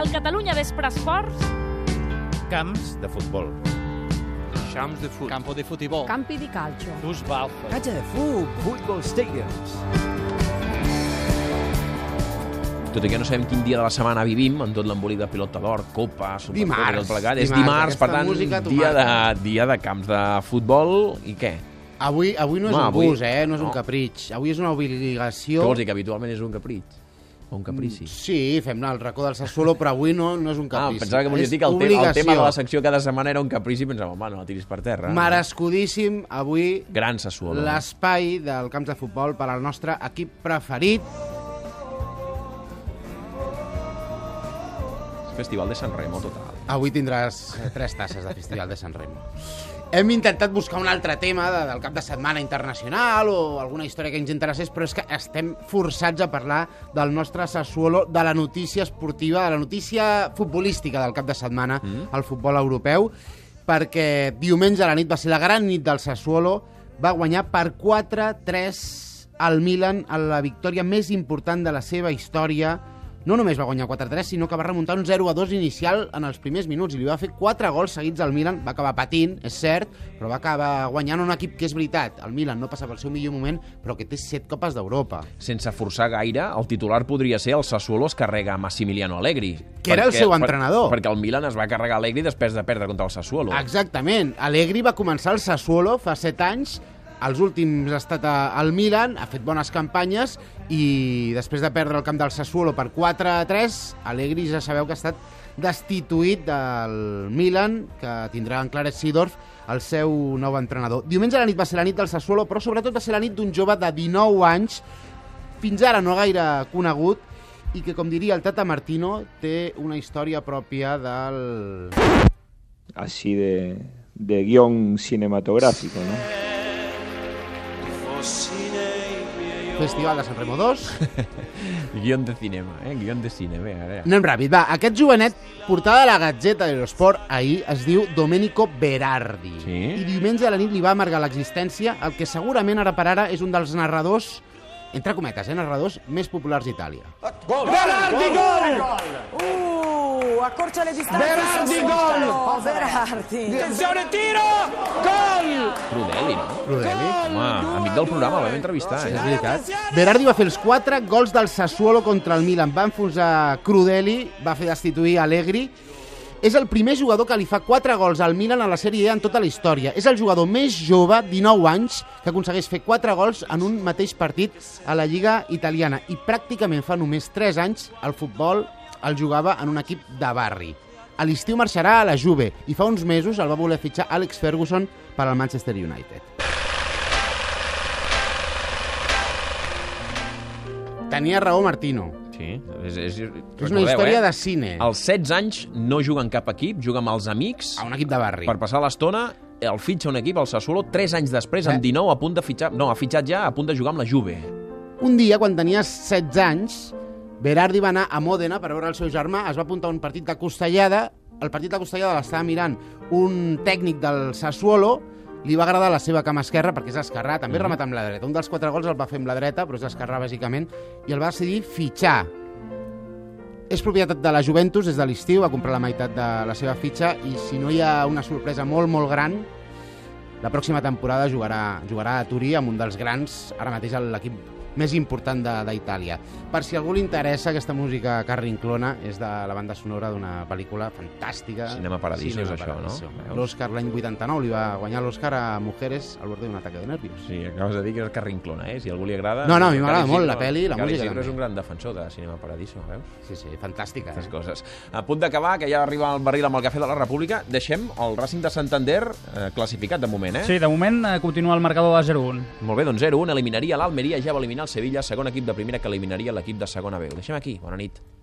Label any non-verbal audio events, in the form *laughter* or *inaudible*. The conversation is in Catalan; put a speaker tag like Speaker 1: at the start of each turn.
Speaker 1: El Catalunya Vespre Esports
Speaker 2: Camps de futbol.
Speaker 3: Champs de fut.
Speaker 4: Campo de futibol.
Speaker 5: Campi di calcio.
Speaker 4: Dus balfes.
Speaker 6: Catxa de fut, football stadiums.
Speaker 7: Tot i que no sabem quin dia de la setmana vivim, amb tot l'embolic de pilota d'or, copa, supercopa,
Speaker 3: Dimarts,
Speaker 7: i tot plegat. És
Speaker 3: dimarts,
Speaker 7: dimarts, per
Speaker 3: aquesta
Speaker 7: tant,
Speaker 3: música t'ho
Speaker 7: dia de,
Speaker 3: marca.
Speaker 7: dia de camps de futbol i què?
Speaker 3: Avui, avui no és
Speaker 7: Home,
Speaker 3: un
Speaker 7: avui-
Speaker 3: bus, eh? No és un
Speaker 7: no.
Speaker 3: capritx. Avui és una obligació.
Speaker 7: Què vols dir, que habitualment és un capritx? O un caprici?
Speaker 3: Mm, Sí, fem el racó del
Speaker 7: *laughs*
Speaker 3: Sassuolo, però avui no, no és un
Speaker 7: Ah,
Speaker 3: caprici.
Speaker 7: pensava que volies
Speaker 3: És
Speaker 7: dir que el, te el tema de
Speaker 3: obligació.
Speaker 7: la Ah. secció cada setmana era un caprici i pensava, home, no la tiris per terra.
Speaker 3: Merescudíssim, avui,
Speaker 7: Gran Sassuolo. eh?
Speaker 3: l'espai del camp de futbol per al nostre equip preferit.
Speaker 7: Festival de San Remo, total.
Speaker 3: Avui tindràs eh, tres tasses de Festival de Sant Remo. Hem intentat buscar un altre tema de, del cap de setmana internacional o alguna història que ens interessés, però és que estem forçats a parlar del nostre Sassuolo, de la notícia esportiva, de la notícia futbolística del cap de setmana mm. al futbol europeu, perquè diumenge a la nit va ser la gran nit del Sassuolo, va guanyar per 4-3 al Milan a la victòria més important de la seva història no només va guanyar 4-3, sinó que va remuntar un 0-2 inicial en els primers minuts i li va fer 4 gols seguits al Milan. Va acabar patint, és cert, però va acabar guanyant un equip que és veritat. El Milan no passa pel seu millor moment, però que té 7 copes d'Europa.
Speaker 7: Sense forçar gaire, el titular podria ser el Sassuolo es carrega a Massimiliano Allegri.
Speaker 3: Que era el seu entrenador.
Speaker 7: Per, perquè el Milan es va carregar Allegri després de perdre contra el Sassuolo.
Speaker 3: Exactament. Allegri va començar el Sassuolo fa 7 anys, els últims ha estat a- al Milan, ha fet bones campanyes i després de perdre el camp del Sassuolo per 4-3, Allegri ja sabeu que ha estat destituït del Milan, que tindrà en Clarence Seedorf el seu nou entrenador. Diumenge a la nit va ser la nit del Sassuolo, però sobretot va ser la nit d'un jove de 19 anys, fins ara no gaire conegut, i que, com diria el Tata Martino, té una història pròpia del
Speaker 8: así de, de guión cinematográfico, ¿no?
Speaker 3: Festival de Sant Remo 2.
Speaker 7: Guion de cinema, eh? Guion de cinema, eh? Ara.
Speaker 3: Anem ràpid, va. Aquest jovenet, portada a la Gazzetta d'Aerosport ahir, es diu Domenico Berardi.
Speaker 7: Sí?
Speaker 3: I diumenge a la nit li va amargar l'existència el que segurament ara per ara és un dels narradors, entre cometes, eh, narradors més populars d'Itàlia.
Speaker 9: Uh, accorcia le distanze. Berardi gol! Berardi.
Speaker 7: Crudeli, no?
Speaker 3: Crudeli.
Speaker 7: Home, amic del programa, el vam entrevistar,
Speaker 3: És
Speaker 7: eh?
Speaker 3: veritat. Berardi va fer els 4 gols del Sassuolo contra el Milan. Va enfonsar Crudeli, va fer destituir Allegri. És el primer jugador que li fa 4 gols al Milan a la Sèrie A en tota la història. És el jugador més jove, 19 anys, que aconsegueix fer 4 gols en un mateix partit a la Lliga Italiana. I pràcticament fa només 3 anys el futbol el jugava en un equip de barri. A l'estiu marxarà a la Juve i fa uns mesos el va voler fitxar Alex Ferguson per al Manchester United. Tenia raó Martino.
Speaker 7: Sí. És, és,
Speaker 3: És una història
Speaker 7: eh?
Speaker 3: de cine.
Speaker 7: Als 16 anys no juga en cap equip, juga amb els amics,
Speaker 3: A un equip de barri.
Speaker 7: per passar l'estona el fitxa un equip, el Sassuolo, 3 anys després, amb
Speaker 3: Eh? 19,
Speaker 7: 19, a punt de fitxar... No, ha fitxat ja, a punt de jugar amb la Juve.
Speaker 3: Un dia, quan tenia 16 anys, Berardi va anar a Mòdena per veure el seu germà, es va apuntar a un partit de costellada, el partit de costellada l'estava mirant un tècnic del Sassuolo, li va agradar la seva cama esquerra perquè és esquerrà, també mm.
Speaker 7: Mhm.
Speaker 3: remata amb la dreta. Un dels quatre gols el va fer amb la dreta, però és esquerrà bàsicament, i el va decidir fitxar. És propietat de la Juventus des de l'estiu, va comprar la meitat de la seva fitxa i si no hi ha una sorpresa molt, molt gran, la pròxima temporada jugarà, jugarà a Turí amb un dels grans, ara mateix l'equip més important de- d'Itàlia. Per si algú li interessa, aquesta música que rinclona és de la banda sonora d'una pel·lícula fantàstica.
Speaker 7: Cinema Paradiso, és això, no? Veus?
Speaker 3: L'Òscar l'any 89 li va guanyar l'Òscar a Mujeres al borde d'un ataque de nervios.
Speaker 7: Sí, acabes de dir que és carrinclona, eh? Si a algú li agrada...
Speaker 3: No, no, a mi
Speaker 7: Cari
Speaker 3: m'agrada
Speaker 7: Isidro-
Speaker 3: molt la peli i la
Speaker 7: Cari
Speaker 3: música
Speaker 7: Isidro és
Speaker 3: també.
Speaker 7: un gran defensor de Cinema Paradiso, veus?
Speaker 3: Sí, sí, fantàstica.
Speaker 7: Aquestes
Speaker 3: Eh?
Speaker 7: coses. A punt d'acabar, que ja arriba el barril amb el cafè de la República, deixem el Racing de Santander eh, classificat de moment, eh?
Speaker 10: Sí, de moment eh, continua el marcador de 0-1.
Speaker 7: Molt bé, doncs 0-1, eliminaria l'Almeria, ja va eliminar el Sevilla, segon equip de primera que eliminaria l'equip de segona B. Ho deixem aquí, bona nit.